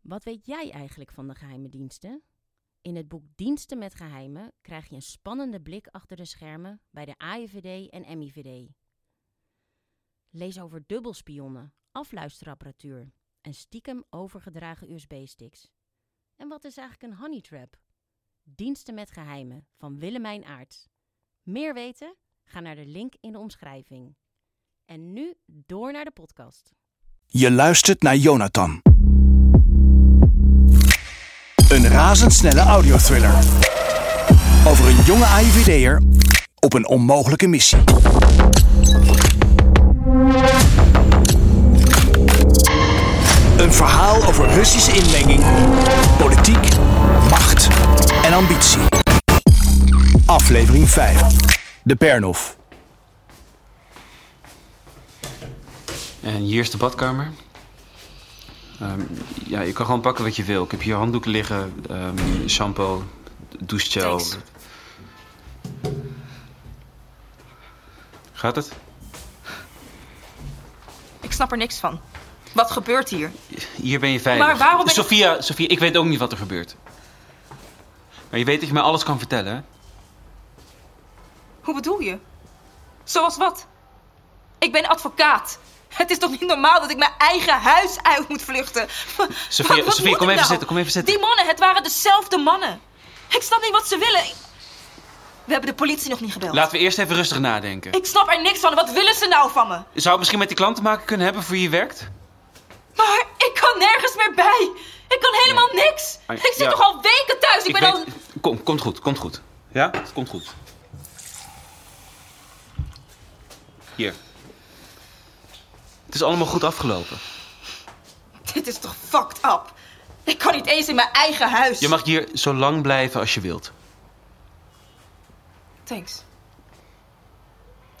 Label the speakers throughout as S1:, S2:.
S1: Wat weet jij eigenlijk van de geheime diensten? In het boek Diensten met Geheimen krijg je een spannende blik achter de schermen bij de AIVD en MIVD. Lees over dubbelspionnen, afluisterapparatuur en stiekem overgedragen USB-sticks. En wat is eigenlijk een honeytrap? Diensten met Geheimen van Willemijn Aarts. Meer weten? Ga naar de link in de omschrijving. En nu door naar de podcast.
S2: Je luistert naar Jonathan. Een razendsnelle audiothriller. Over een jonge AIVD'er op een onmogelijke missie. Een verhaal over Russische inmenging, politiek, macht en ambitie. Aflevering 5. De Pernov.
S3: En hier is de badkamer. Ehm, ja, je kan gewoon pakken wat je wil. Ik heb hier handdoeken liggen, ehm, shampoo, douchegel.
S4: Thanks.
S3: Gaat het?
S4: Ik snap er niks van. Wat gebeurt hier?
S3: Hier ben je veilig.
S4: Maar waarom ben ik-
S3: Sophia, Sophia, ik weet ook niet wat er gebeurt. Maar je weet dat je mij alles kan vertellen, hè?
S4: Hoe bedoel je? Zoals wat? Ik ben advocaat. Het is toch niet normaal dat ik mijn eigen huis uit moet vluchten? Wa-
S3: Sophia,
S4: wa- wat
S3: Sophia,
S4: moet
S3: kom even
S4: ik nou?
S3: zitten, kom even zitten.
S4: Die mannen, het waren dezelfde mannen. Ik snap niet wat ze willen. Ik- We hebben de politie nog niet gebeld.
S3: Laten we eerst even rustig nadenken.
S4: Ik snap er niks van. Wat willen ze nou van me?
S3: Zou het misschien met die klant te maken kunnen hebben voor wie je werkt?
S4: Maar ik kan nergens meer bij. Ik kan helemaal niks.
S3: Ah,
S4: Ik zit
S3: ja.
S4: toch al weken thuis. Ik, ben al...
S3: Kom, komt goed, komt goed. Ja? Het komt goed. Hier. Het is allemaal goed afgelopen.
S4: Dit is toch fucked up? Ik kan niet eens in mijn eigen huis.
S3: Je mag hier zo lang blijven als je wilt.
S4: Thanks.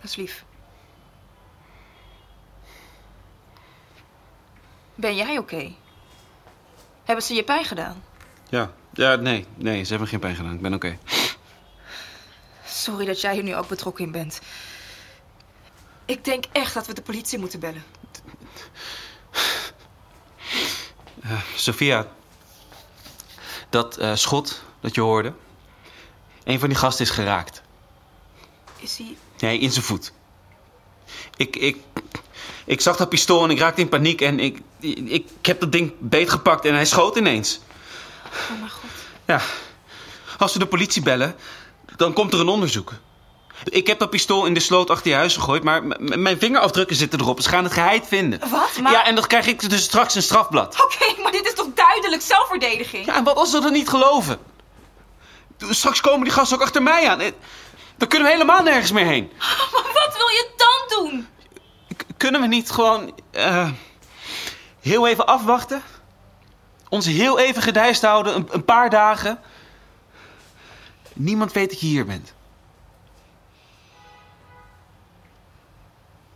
S4: Dat is lief. Ben jij oké? Hebben ze je pijn gedaan?
S3: Ja. Ja, nee, nee, ze hebben geen pijn gedaan. Ik ben oké.
S4: Sorry dat jij hier nu ook betrokken in bent. Ik denk echt dat we de politie moeten bellen.
S3: Sophia, dat eh, schot dat je hoorde, een van die gasten is geraakt.
S4: Is hij...
S3: Nee, in zijn voet. Ik, ik, ik zag dat pistool en ik raakte in paniek en ik, ik, ik heb dat ding beetgepakt en hij schoot ineens.
S4: Oh mijn god.
S3: Ja, als we de politie bellen, dan komt er een onderzoek. Ik heb dat pistool in de sloot achter je huis gegooid, maar m- m- mijn vingerafdrukken zitten erop. Ze gaan het geheid vinden.
S4: Wat? Maar-
S3: Ja, en dan krijg ik dus straks een strafblad.
S4: Oké, maar dit is toch duidelijk zelfverdediging?
S3: Ja, en wat als ze dat niet geloven? Straks komen die gasten ook achter mij aan. Eh, Dan kunnen we helemaal nergens meer heen.
S4: Maar wat wil je dan doen?
S3: K- kunnen we niet gewoon eh, heel even afwachten? Ons heel even gedijst houden, een, een paar dagen. Niemand weet dat je hier bent.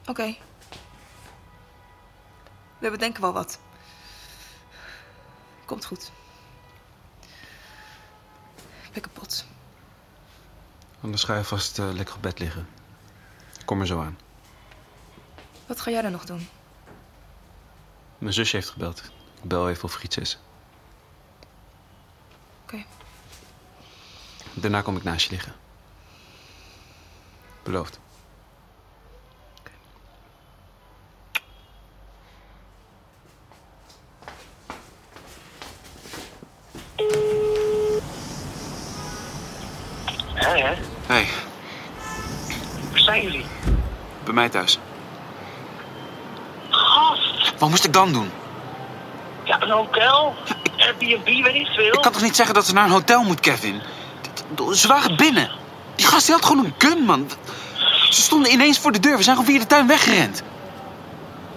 S4: Oké. We bedenken wel wat. Komt goed. Ik ben kapot.
S3: Anders ga je vast eh, lekker op bed liggen. Kom er zo aan.
S4: Wat ga jij dan nog doen?
S3: Mijn zusje heeft gebeld. Ik bel even of er iets is.
S4: Oké.
S3: Daarna kom ik naast je liggen. Beloofd.
S5: Hé, hè?
S3: Hey,
S5: Waar zijn jullie?
S3: bij mij thuis.
S5: Gast!
S3: Wat moest ik dan doen?
S5: Ja, een hotel? Airbnb, weet ik veel.
S3: Ik kan toch niet zeggen dat ze naar een hotel moet, Kevin? Ze waren binnen. Die gast die had gewoon een gun, man. Ze stonden ineens voor de deur. We zijn gewoon via de tuin weggerend.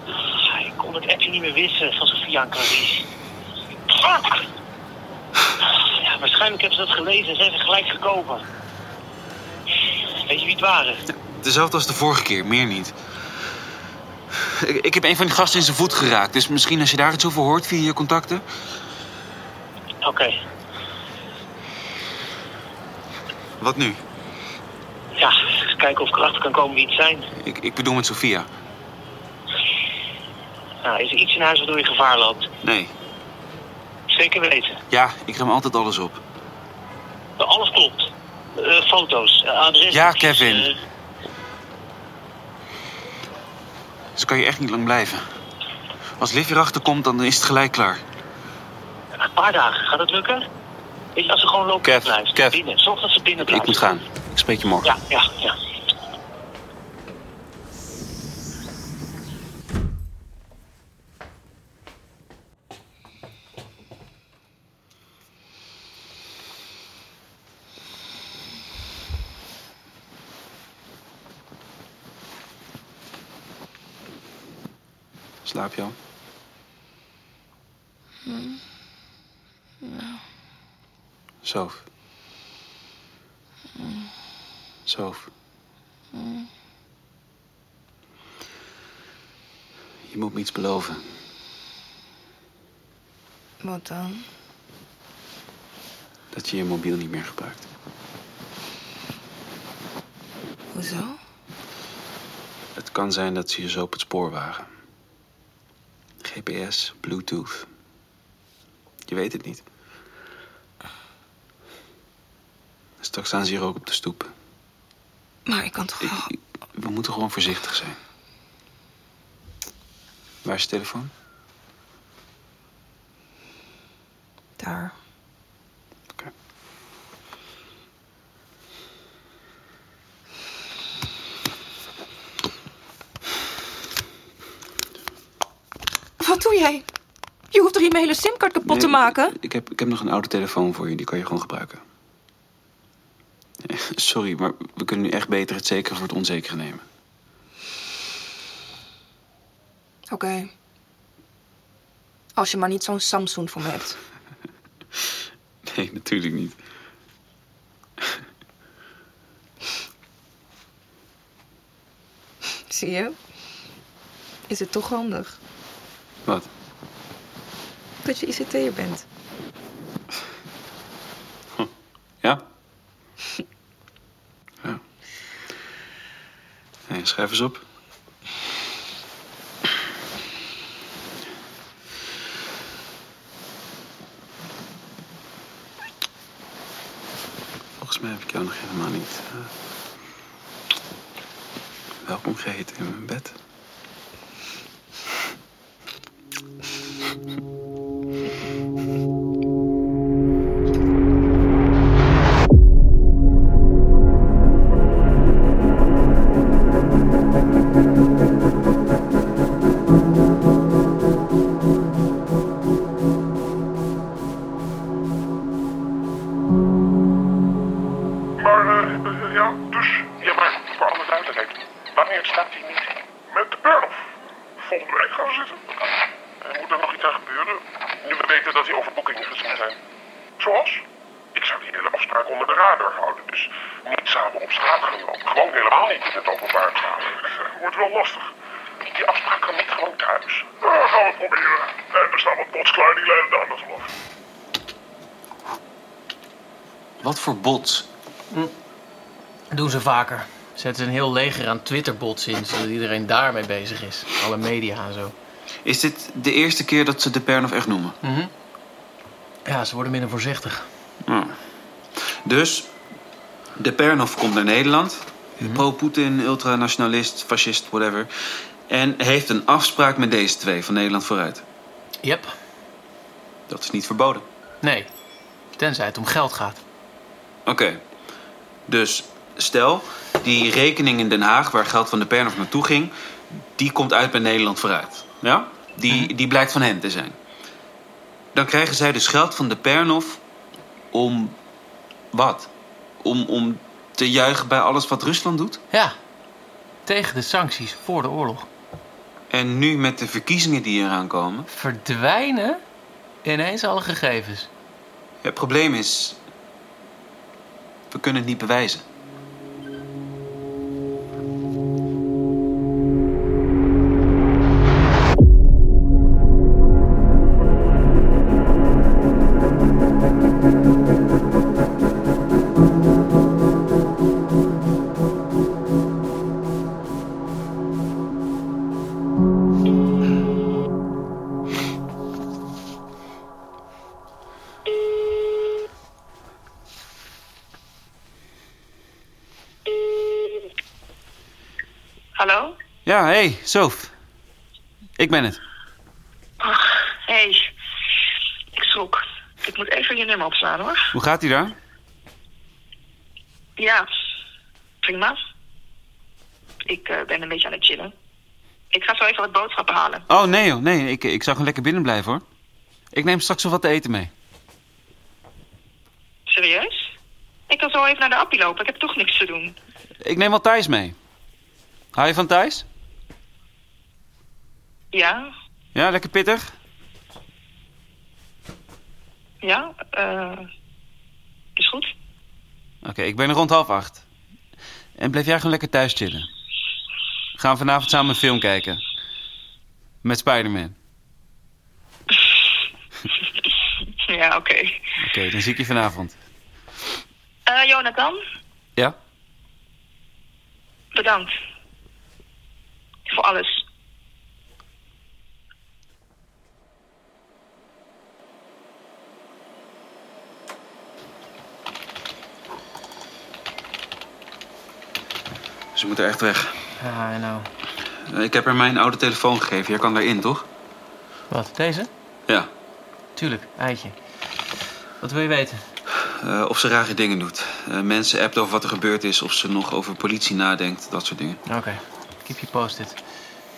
S5: Ja, Ah, ik kon het appje niet meer wissen van Sofia en Clarice. Fuck! Ja, waarschijnlijk hebben ze dat gelezen en zijn ze gelijk gekomen. Weet je wie het waren?
S3: Dezelfde als de vorige keer, meer niet. Ik, ik heb een van die gasten in zijn voet geraakt. Dus misschien als je daar iets over hoort via je contacten.
S5: Oké.
S3: Wat nu?
S5: Ja, eens kijken of ik erachter kan komen wie het zijn.
S3: Ik, ik bedoel met Sofia.
S5: Nou, is er iets in huis waardoor je gevaar loopt?
S3: Nee.
S5: zeker weten.
S3: Ja, ik ruim altijd alles op.
S5: Nou, Alles klopt. Eh, foto's, eh, adres.
S3: Ja, Kevin.
S5: eh,
S3: Dus kan je echt niet lang blijven. Als Liv hierachter komt, dan is het gelijk klaar.
S5: een paar dagen, gaat het lukken? Weet je, als ze gewoon lopen
S3: Kev,
S5: blijft.
S3: Kev.
S5: Binnen. Zorg dat ze binnen blijft.
S3: Ik moet gaan. Ik spreek je morgen.
S5: Ja, ja, ja.
S3: Slaap je al? Zoof. Zoof. Je moet me iets beloven.
S6: Wat dan?
S3: Dat je je mobiel niet meer gebruikt.
S6: Hoezo?
S3: Het kan zijn dat ze je zo op het spoor waren. GPS, Bluetooth. Je weet het niet. Straks staan ze hier ook op de stoep.
S6: Maar ik kan toch
S3: Ik-
S6: wel...
S3: ik- we moeten gewoon voorzichtig zijn. Waar is je telefoon?
S6: Daar.
S3: Oké.
S4: Wat doe jij? Je hoeft toch niet mijn hele simkaart kapot te
S3: Nee,
S4: maken?
S3: Ik, ik heb, ik heb nog een oude telefoon voor je, die kan je gewoon gebruiken. Sorry, maar we kunnen nu echt beter het zekere voor het onzekere nemen.
S6: Oké. Als je maar niet zo'n Samsung voor me hebt.
S3: Nee, natuurlijk niet.
S6: Zie je? Is het toch handig
S3: Wat?
S6: dat je ICT'er bent?
S3: Ja? ja. Nee, schrijf eens op. Volgens mij heb ik jou nog helemaal niet. eh, welkom geheten in mijn bed.
S7: Maar eh, eh, ja, dus jij vraagt voor alle duidelijkheid. Wanneer staat die meeting? Met de Burnoff. Volgende week gaan we zitten. Er moet er nog iets aan gebeuren. Nu we weten dat die overboekingen gezien zijn. Zoals? Ik zou die hele afspraak onder de radar houden. Dus niet samen op straat gaan lopen. Gewoon helemaal niet in het openbaar gaan. eh, Wordt wel lastig. Die afspraak kan niet gewoon thuis. Nou, gaan we proberen. Eh, Er staan wat bots klaar die leiden aan de geloof.
S3: Wat voor bots?
S8: Doen ze vaker. Zetten een heel leger aan Twitterbots in, zodat iedereen daarmee bezig is. Alle media en zo.
S3: Is dit de eerste keer dat ze de Pernov echt noemen?
S8: Ja, ze worden minder voorzichtig.
S3: Dus de Pernov komt naar Nederland. Pro-Poetin, ultranationalist, fascist, whatever. En heeft een afspraak met deze twee van Nederland vooruit.
S8: Yep.
S3: Dat is niet verboden.
S8: Nee. Tenzij het om geld gaat.
S3: Oké. Dus stel, die rekening in Den Haag waar geld van de Pernov naartoe ging, die komt uit bij Nederland vooruit. Ja? Die, die blijkt van hen te zijn. Dan krijgen zij dus geld van de Pernov om wat? Om, om te juichen bij alles wat Rusland doet?
S8: Ja. Tegen de sancties voor de oorlog.
S3: En nu met de verkiezingen die eraan komen.
S8: Verdwijnen ineens alle gegevens.
S3: Het probleem is. We kunnen het niet bewijzen.
S5: Hallo?
S3: Ja, hé, hey, Sof. Ik ben het.
S5: Ach, hé. Ik schrok. Ik moet even je nummer opslaan hoor.
S3: Hoe gaat ie daar?
S5: Ja, prima. Ik eh, ben een beetje aan het chillen. Ik ga zo even wat boodschappen halen.
S3: Oh, nee joh, nee. Ik, ik zou gewoon lekker binnen blijven hoor. Ik neem straks wel wat te eten mee.
S5: Serieus? Ik kan zo even naar de appie lopen. Ik heb toch niks te doen.
S3: Ik neem wel Thijs mee. Hou je van Thijs?
S5: Ja,
S3: Ja, lekker pittig?
S5: ja, eh, is goed.
S3: Oké, ik ben er rond half acht. En blijf jij gewoon lekker thuis chillen. Gaan we vanavond samen een film kijken. Met Spider-Man.
S5: Ja, oké.
S3: Oké, dan zie ik je vanavond.
S5: Eh, Jonathan,
S3: Ja?
S5: bedankt. Voor alles.
S3: Ze moeten echt weg. Eh,
S8: Ah, nou.
S3: Ik heb haar mijn oude telefoon gegeven. Jij kan daarin, toch?
S8: Wat, deze?
S3: Ja.
S8: Tuurlijk, eitje. Wat wil je weten?
S3: Eh, of ze rare dingen doet. Eh, mensen appt over wat er gebeurd is. Of ze nog over politie nadenkt. Dat soort dingen.
S8: Oké, keep je posted.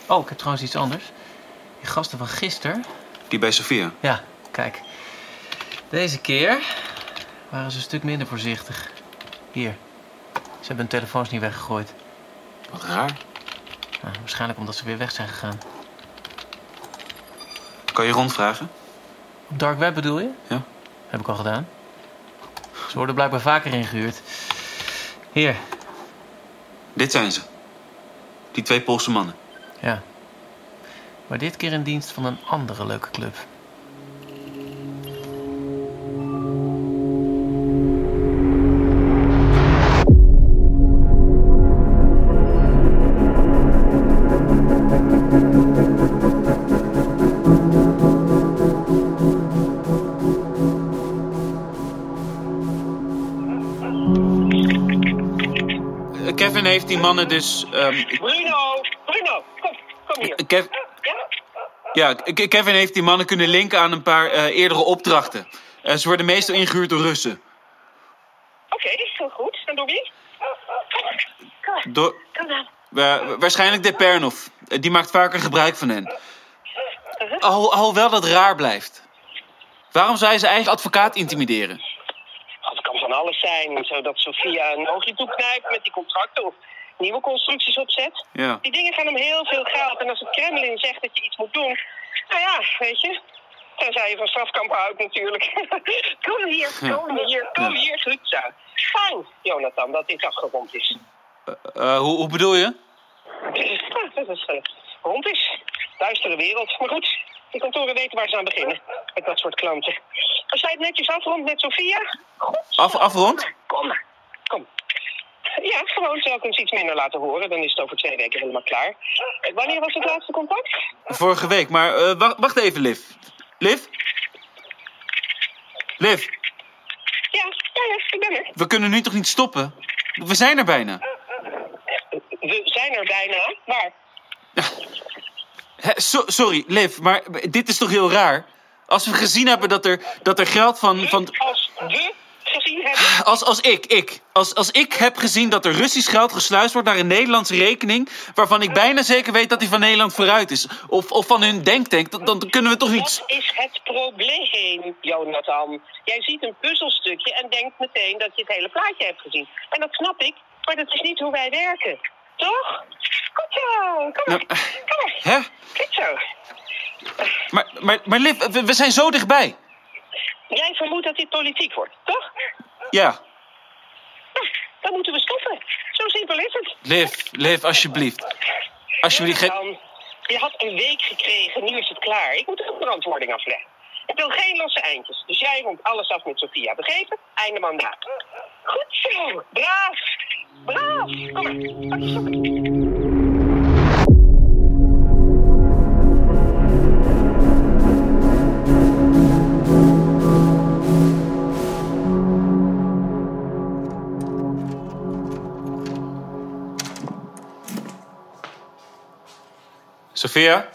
S8: Oh, ik heb trouwens iets anders. Die gasten van gisteren.
S3: Die bij Sofia.
S8: Ja, kijk. Deze keer waren ze een stuk minder voorzichtig. Hier. Ze hebben hun telefoons niet weggegooid.
S3: Wat raar.
S8: Nou, waarschijnlijk omdat ze weer weg zijn gegaan.
S3: Kan je rondvragen?
S8: Op dark web bedoel je?
S3: Ja.
S8: Heb ik al gedaan. Ze worden blijkbaar vaker ingehuurd. Hier,
S3: Dit zijn ze. Die twee Poolse mannen.
S8: ja. Maar dit keer in dienst van een andere leuke club.
S3: Eh, Kevin heeft die mannen dus. ehm,
S5: Bruno! Bruno, kom, kom hier.
S3: Kev-
S5: Ja?
S3: ja, Ke- Kevin heeft die mannen kunnen linken aan een paar eh, eerdere opdrachten. Eh, ze worden meestal ingehuurd door Russen.
S5: Oké, heel goed. En door wie? Kom,
S3: Door,
S5: kom dan.
S3: eh, waarschijnlijk de Pernov. Eh, die maakt vaker gebruik van hen. Al, alhoewel dat raar blijft. Waarom zou hij zijn eigen advocaat intimideren?
S5: Het kan van alles zijn, zodat Sofia een oogje toeknijpt met die contracten of nieuwe constructies opzet.
S3: Ja.
S5: Die dingen gaan om heel veel geld. En als het Kremlin zegt dat je iets moet doen, nou ja, weet je. Tenzij je van strafkamp houdt natuurlijk. kom hier, kom hier, kom
S3: Ja.
S5: hier, goed zo. Fijn, Jonathan, dat dit afgerond is.
S3: Eh, hoe, hoe bedoel je?
S5: Ah, dat is eh, rond is. Duistere wereld. Maar goed, die kantoren weten waar ze aan beginnen. Met dat soort klanten. Als jij het netjes afrondt met Sofia. Goed.
S3: Af, afrond?
S5: Kom maar. Kom. Ja, gewoon telkens iets minder laten horen. Dan is het over twee weken helemaal klaar. Eh, Wanneer was het laatste contact?
S3: Vorige week, maar eh, wa- wacht, even, Liv. Liv? Liv,
S5: Ja, ja, ja, ik ben er.
S3: we kunnen nu toch niet stoppen? We zijn er bijna.
S5: We zijn er bijna. Maar
S3: Hè, so- sorry, Liv, maar dit is toch heel raar? Als we gezien hebben dat er, dat er geld van. van Ah,
S5: als we gezien hebben...
S3: als, als ik, ik. Als, als ik heb gezien dat er Russisch geld gesluist wordt naar een Nederlandse rekening. waarvan ik bijna zeker weet dat die van Nederland vooruit is. Of, of van hun denktank, dan, dan kunnen we toch niet.
S5: Dat
S3: s-
S5: is het probleem, Jonathan. Jij ziet een puzzelstukje en denkt meteen dat je het hele plaatje hebt gezien. En dat snap ik, maar dat is niet hoe wij werken. Toch? Goed zo, kom maar.
S3: Nou,
S5: Kom maar,
S3: Hè?
S5: goed zo.
S3: Maar, maar, maar Liv, we, we zijn zo dichtbij.
S5: Jij vermoedt dat dit politiek wordt, toch?
S3: Ja.
S5: Nou, dan moeten we stoppen. Zo simpel is het.
S3: Liv, Liv, alsjeblieft. Alsjeblieft, ge-
S5: Jonathan, je had een week gekregen, nu is het klaar. Ik moet ook verantwoording afleggen. Ik wil geen losse eindjes. Dus jij rond alles af met Sofia. Begrepen? Einde mandaat. Goed zo. Braaf. Braaf. Kom maar. Pak je sokken.
S3: Sophia?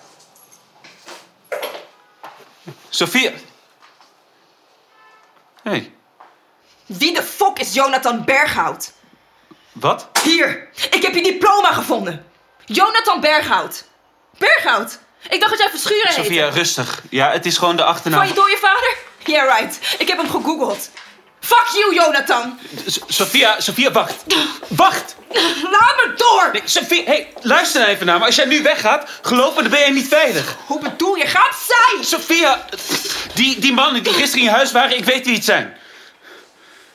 S3: Sophia? Hé, hey,
S4: Wie de fok is Jonathan Berghout?
S3: wat?
S4: Hier, ik heb je diploma gevonden. Jonathan Berghout. Berghout? Ik dacht dat jij Verschuren heette.
S3: Sophia, rustig. Ja, het is gewoon de achternaam.
S4: Van je dode vader? Yeah, right. Ik heb hem gegoogeld. Fuck you, Jonathan.
S3: S- Sophia, Sophia, wacht. Wacht!
S4: Laat me door.
S3: Nee, Sophia, hey, luister nou even naar me. Als jij nu weggaat, geloof me, dan ben jij niet veilig.
S4: Hoe bedoel je? Gaat zij?
S3: Sophia, die, die mannen die gisteren in je huis waren, ik weet wie het zijn.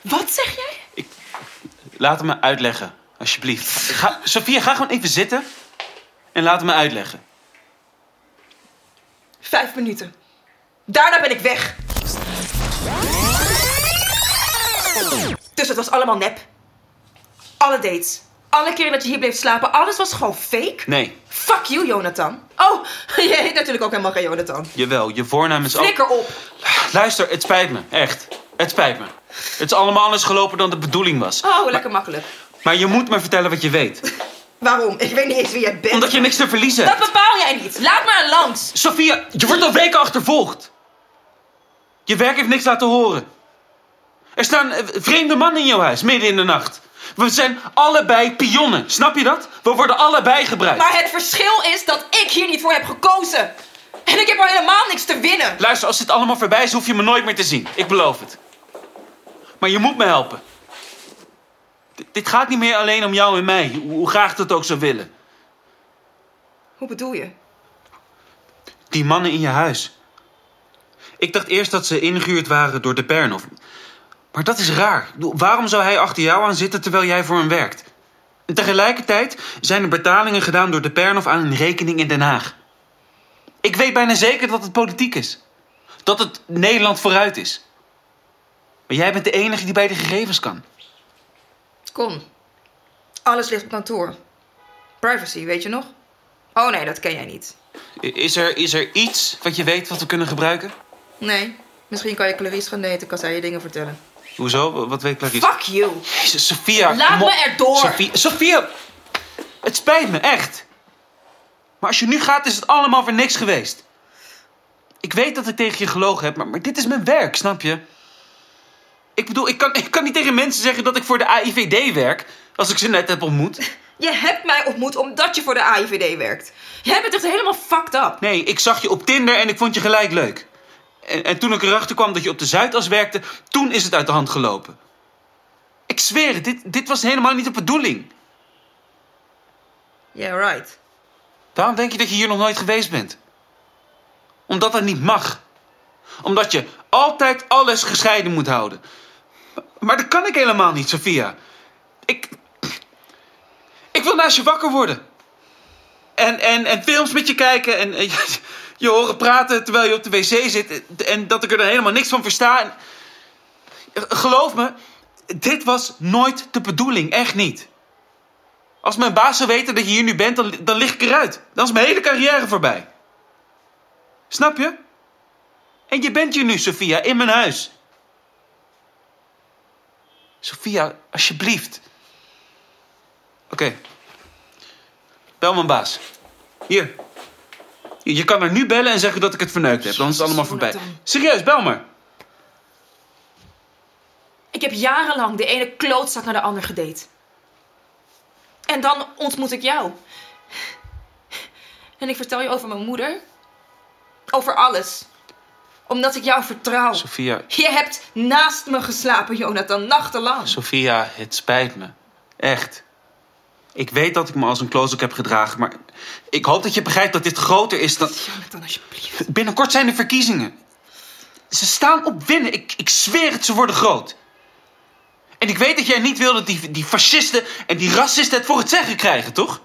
S4: Wat zeg jij?
S3: Laat het me uitleggen, alsjeblieft. Ga, Sophia, ga gewoon even zitten en laat het me uitleggen.
S4: Vijf minuten. Daarna ben ik weg. Dus het was allemaal nep. Alle dates. Alle keren dat je hier bleef slapen. Alles was gewoon fake.
S3: Nee,
S4: Fuck you, Jonathan. Oh, je heet natuurlijk ook helemaal geen Jonathan.
S3: jawel, je voornaam is... al-
S4: Flikker op.
S3: Luister, het spijt me, echt. Het spijt me. Het is allemaal anders gelopen dan de bedoeling was.
S4: Oh, lekker makkelijk.
S3: Maar je moet me vertellen wat je weet.
S4: Waarom? Ik weet niet eens wie jij bent.
S3: Omdat je niks te verliezen
S4: Dat
S3: hebt.
S4: bepaal jij niet. Laat maar langs.
S3: Sophia, je wordt al weken achtervolgd. Je werk heeft niks laten horen. Er staan eh, vreemde mannen in jouw huis, midden in de nacht. We zijn allebei pionnen, snap je dat? We worden allebei gebruikt.
S4: Maar het verschil is dat ik hier niet voor heb gekozen. En ik heb er helemaal niks te winnen.
S3: Luister, als dit allemaal voorbij is, hoef je me nooit meer te zien. Ik beloof het. Maar je moet me helpen. D- dit gaat niet meer alleen om jou en mij, hoe hoe graag ik dat ook zou willen.
S4: Hoe bedoel je?
S3: Die mannen in je huis. Ik dacht eerst dat ze ingehuurd waren door de Pernov. Maar dat is raar. Ik bedoel, Waarom zou hij achter jou aan zitten terwijl jij voor hem werkt? En tegelijkertijd zijn er betalingen gedaan door de Pernov aan een rekening in Den Haag. Ik weet bijna zeker dat het politiek is. Dat het Nederland vooruit is. Maar jij bent de enige die bij de gegevens kan.
S4: Kom. Alles ligt op kantoor. Privacy, weet je nog? Oh nee, dat ken jij niet.
S3: I- Is er, is er iets wat je weet wat we kunnen gebruiken?
S4: Nee. Misschien kan je Clarice gaan daten, kan zij je dingen vertellen.
S3: Hoezo? Wat weet Clarice?
S4: Fuck you.
S3: Jezus, Sophia.
S4: Laat
S3: kom op.
S4: me erdoor.
S3: Sophia, Sophia, het spijt me, echt. Maar als je nu gaat, is het allemaal voor niks geweest. Ik weet dat ik tegen je gelogen heb, maar, maar dit is mijn werk, snap je? Ik bedoel, ik kan, ik kan niet tegen mensen zeggen dat ik voor de AIVD werk... als ik ze net heb ontmoet.
S4: Je hebt mij ontmoet omdat je voor de AIVD werkt. Jij bent echt helemaal fucked up.
S3: Nee, ik zag je op Tinder en ik vond je gelijk leuk. En, en toen ik erachter kwam dat je op de Zuidas werkte, toen is het uit de hand gelopen. Ik zweer het, dit, dit was helemaal niet de bedoeling.
S4: Yeah, right.
S3: Waarom denk je dat je hier nog nooit geweest bent? Omdat dat niet mag. Omdat je altijd alles gescheiden moet houden. Maar- Maar dat kan ik helemaal niet, Sophia. Ik. Ik wil naast je wakker worden. En, en, en films met je kijken en, en je, je horen praten terwijl je op de wc zit. En dat ik er dan helemaal niks van versta. En- eh, Geloof me, dit was nooit de bedoeling. Echt niet. Als mijn baas zou weten dat je hier nu bent, dan, dan lig ik eruit. Dan is mijn hele carrière voorbij. Snap je? En je bent hier nu, Sophia, in mijn huis. Sophia, alsjeblieft. Oké. Bel mijn baas. Hier. Je je kan haar nu bellen en zeggen dat ik het verneukt heb. Dan is het allemaal voorbij.
S4: Jonathan.
S3: Serieus, bel maar.
S4: Ik heb jarenlang de ene klootzak naar de ander gedate. En dan ontmoet ik jou. En ik vertel je over mijn moeder. Over alles. Omdat ik jou vertrouw.
S3: Sophia,
S4: Je hebt naast me geslapen, Jonathan, nachtenlang.
S3: Sophia, het spijt me. Echt. Ik weet dat ik me als een klootzak heb gedragen, maar ik hoop dat je begrijpt dat dit groter is dan.
S4: Jonathan, alsjeblieft.
S3: Binnenkort zijn er verkiezingen. Ze staan op winnen. Ik, ik zweer het, ze worden groot. En ik weet dat jij niet wil dat die, die fascisten en die racisten het voor het zeggen krijgen, toch?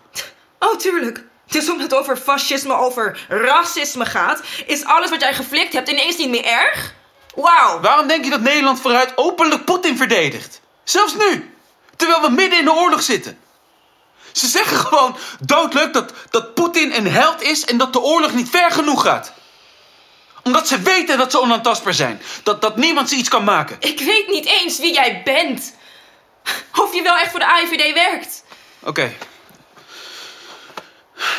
S4: Oh, tuurlijk. Dus omdat het over fascisme, over racisme gaat, is alles wat jij geflikt hebt ineens niet meer erg? Wauw.
S3: Waarom denk je dat Nederland vooruit openlijk Poetin verdedigt? Zelfs nu, terwijl we midden in de oorlog zitten. Ze zeggen gewoon doodleuk dat, dat Poetin een held is en dat de oorlog niet ver genoeg gaat. Omdat ze weten dat ze onaantastbaar zijn. Dat, dat niemand ze iets kan maken.
S4: Ik weet niet eens wie jij bent. Of je wel echt voor de AIVD werkt.
S3: Oké.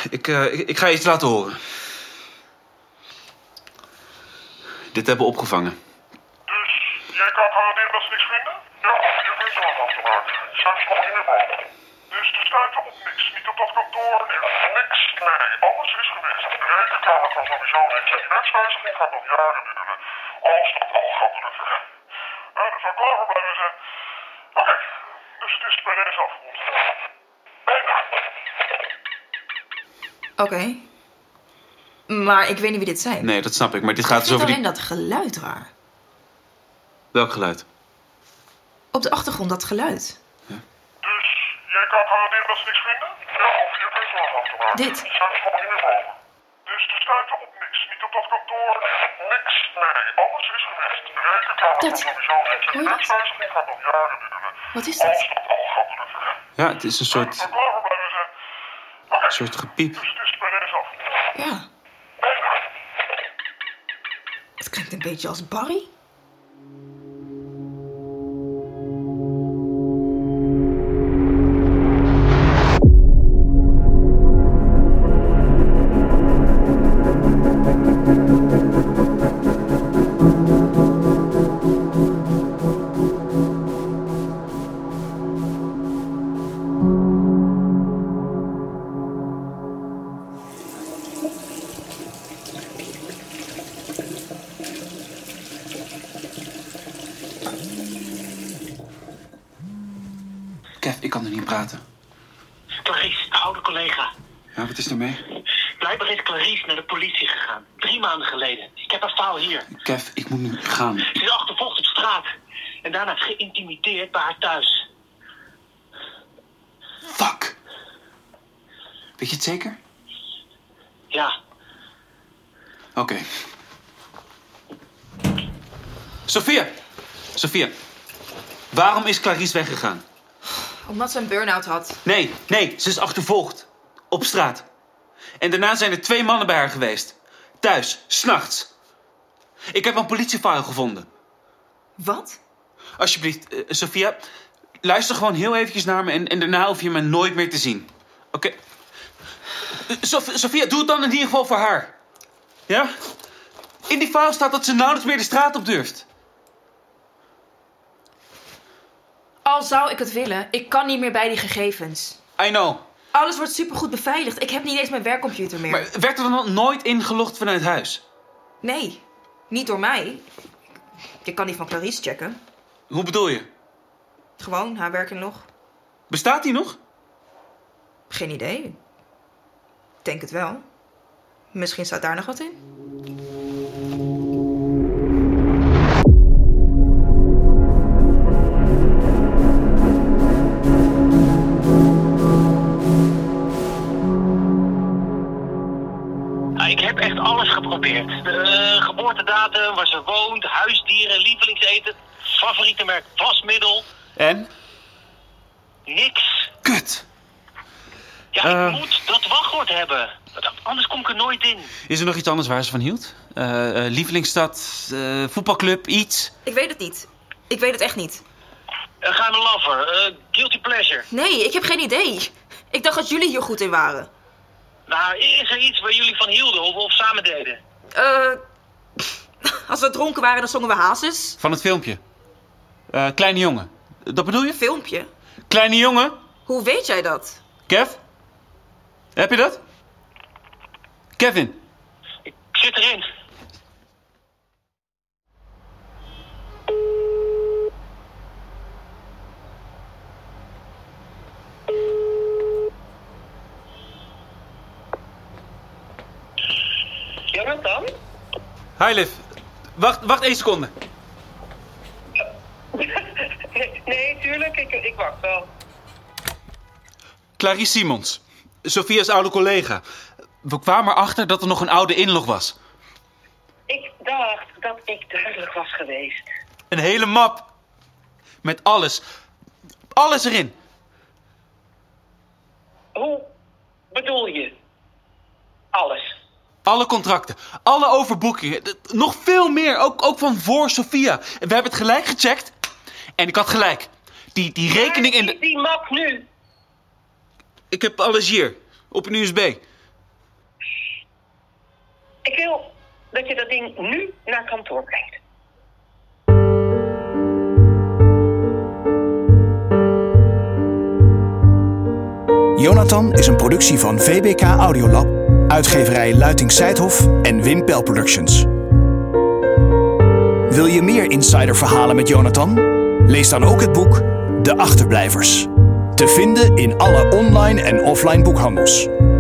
S3: Ik, eh, ik, ik ga je iets laten horen. Dit hebben we opgevangen.
S7: Dus jij kan garanderen dat ze niks vinden? Ja, je weet wel wat gemaakt. Zijn ze nog helemaal. Dus er staat op niks. Niet op dat kantoor. Niks. Nee, alles is geweest. De rekenkamer kan sowieso niks. En die wetswijziging gaat nog jaren duren. Als dat al gaat lukken. Nou, dat zou klaar voor blijven zijn. Oké, dus het is bij deze afgerond. Bijna.
S4: Oké. Maar ik weet niet wie dit zijn.
S3: Nee, dat snap ik. Maar dit gaat
S4: ik
S3: dus
S4: vind
S3: over
S4: alleen
S3: die...
S4: dat geluid raar.
S3: Welk geluid?
S4: Op de achtergrond dat geluid.
S7: Dus jij kan garanderen dat ze niks vinden? Ja, of je weet wel wat gemaakt.
S4: Dit.
S7: Zijn ze nog helemaal. Dus er staat op niks. Niet op dat kantoor. Niks. Nee, alles is geweest. De rekenkamer
S4: Dat-
S7: kan sowieso niks.
S4: Hoor
S7: En de
S4: je dat?
S7: wetswijziging gaat nog jaren duren.
S4: Wat is
S7: Als
S4: dat?
S7: dat al gaat lukken.
S3: Ja, het is een soort,
S7: Maar klaar voor blijven zijn. Oké,
S3: soort gepiep.
S7: dus het is bij deze af.
S4: Ja. Het klinkt een beetje als Barry.
S3: Kev, ik kan er niet praten.
S5: Clarice, de oude collega.
S3: Ja, wat is er mee?
S5: Blijkbaar is Clarice naar de politie gegaan. Drie maanden geleden. Ik heb haar faal hier.
S3: Kev, ik moet nu gaan.
S5: Ze is achtervolgd op straat. En daarna geïntimideerd bij haar thuis.
S3: Fuck! Weet je het zeker?
S5: Ja,
S3: Oké. Sophia! Sophia, waarom is Clarice weggegaan?
S4: Omdat ze een burn-out had.
S3: Nee, nee, ze is achtervolgd. Op straat. En daarna zijn er twee mannen bij haar geweest. Thuis, s'nachts. Ik heb een politiefile gevonden.
S4: Wat?
S3: Alsjeblieft, eh, Sophia, luister gewoon heel eventjes naar me en, en daarna hoef je me nooit meer te zien. Oké. Eh, Sof- Sophia, doe het dan in ieder geval voor haar. Ja? In die file staat dat ze nauwelijks meer de straat op durft.
S4: Al zou ik het willen, ik kan niet meer bij die gegevens.
S3: I know.
S4: Alles wordt supergoed beveiligd. Ik heb niet eens mijn werkcomputer meer.
S3: Maar werd er dan nooit ingelogd vanuit huis?
S4: Nee, niet door mij. Je kan die van Clarice checken.
S3: Hoe bedoel je?
S4: Gewoon, haar werken nog.
S3: Bestaat die nog?
S4: Geen idee. Ik Denk het wel. Misschien staat daar nog wat in.
S5: Ah, Ik heb echt alles geprobeerd. De eh, geboortedatum, waar ze woont, huisdieren, lievelingseten, favoriete merk wasmiddel.
S3: En?
S5: Niks.
S3: Kut.
S5: Ja,
S3: Eh.
S5: ik moet dat wachtwoord hebben. Want Anders kom ik er nooit in.
S3: Is er nog iets anders waar ze van hield? Eh, eh, lievelingsstad, eh, voetbalclub, iets?
S4: Ik weet het niet. Ik weet het echt niet.
S5: Eh, Ga naar lover. eh, guilty pleasure.
S4: Nee, ik heb geen idee. Ik dacht dat jullie hier goed in waren.
S5: Nou, is er iets waar jullie van hielden of, of samen deden?
S4: Eh. als we dronken waren, dan zongen we hazes.
S3: Van het filmpje. Eh, kleine jongen. Dat bedoel je?
S4: Filmpje.
S3: Kleine jongen?
S4: Hoe weet jij dat?
S3: Kev? Heb je dat? Kevin?
S5: Ik zit erin. Ja, wat dan?
S3: Hi Liv. Wacht, wacht één seconde.
S5: Nee, nee tuurlijk, ik, ik wacht wel.
S3: Clarice Simons. Sophia's oude collega. We kwamen erachter dat er nog een oude inlog was.
S5: Ik dacht dat ik duidelijk was geweest.
S3: Een hele map. Met alles. Alles erin.
S5: Hoe bedoel je? Alles.
S3: Alle contracten, alle overboekingen, d- nog veel meer, ook, ook van voor Sophia. We hebben het gelijk gecheckt en ik had gelijk. Die, die rekening in
S5: Waar
S3: de...
S5: is die map nu?
S3: Ik heb alles hier, op een USB.
S5: Ik wil dat je dat ding nu naar kantoor brengt.
S2: Jonathan is een productie van VBK Audiolab, uitgeverij Luiting Seidhof en Wim Pel Productions. Wil je meer insiderverhalen met Jonathan? Lees dan ook het boek De Achterblijvers. Te vinden in alle online en offline boekhandels.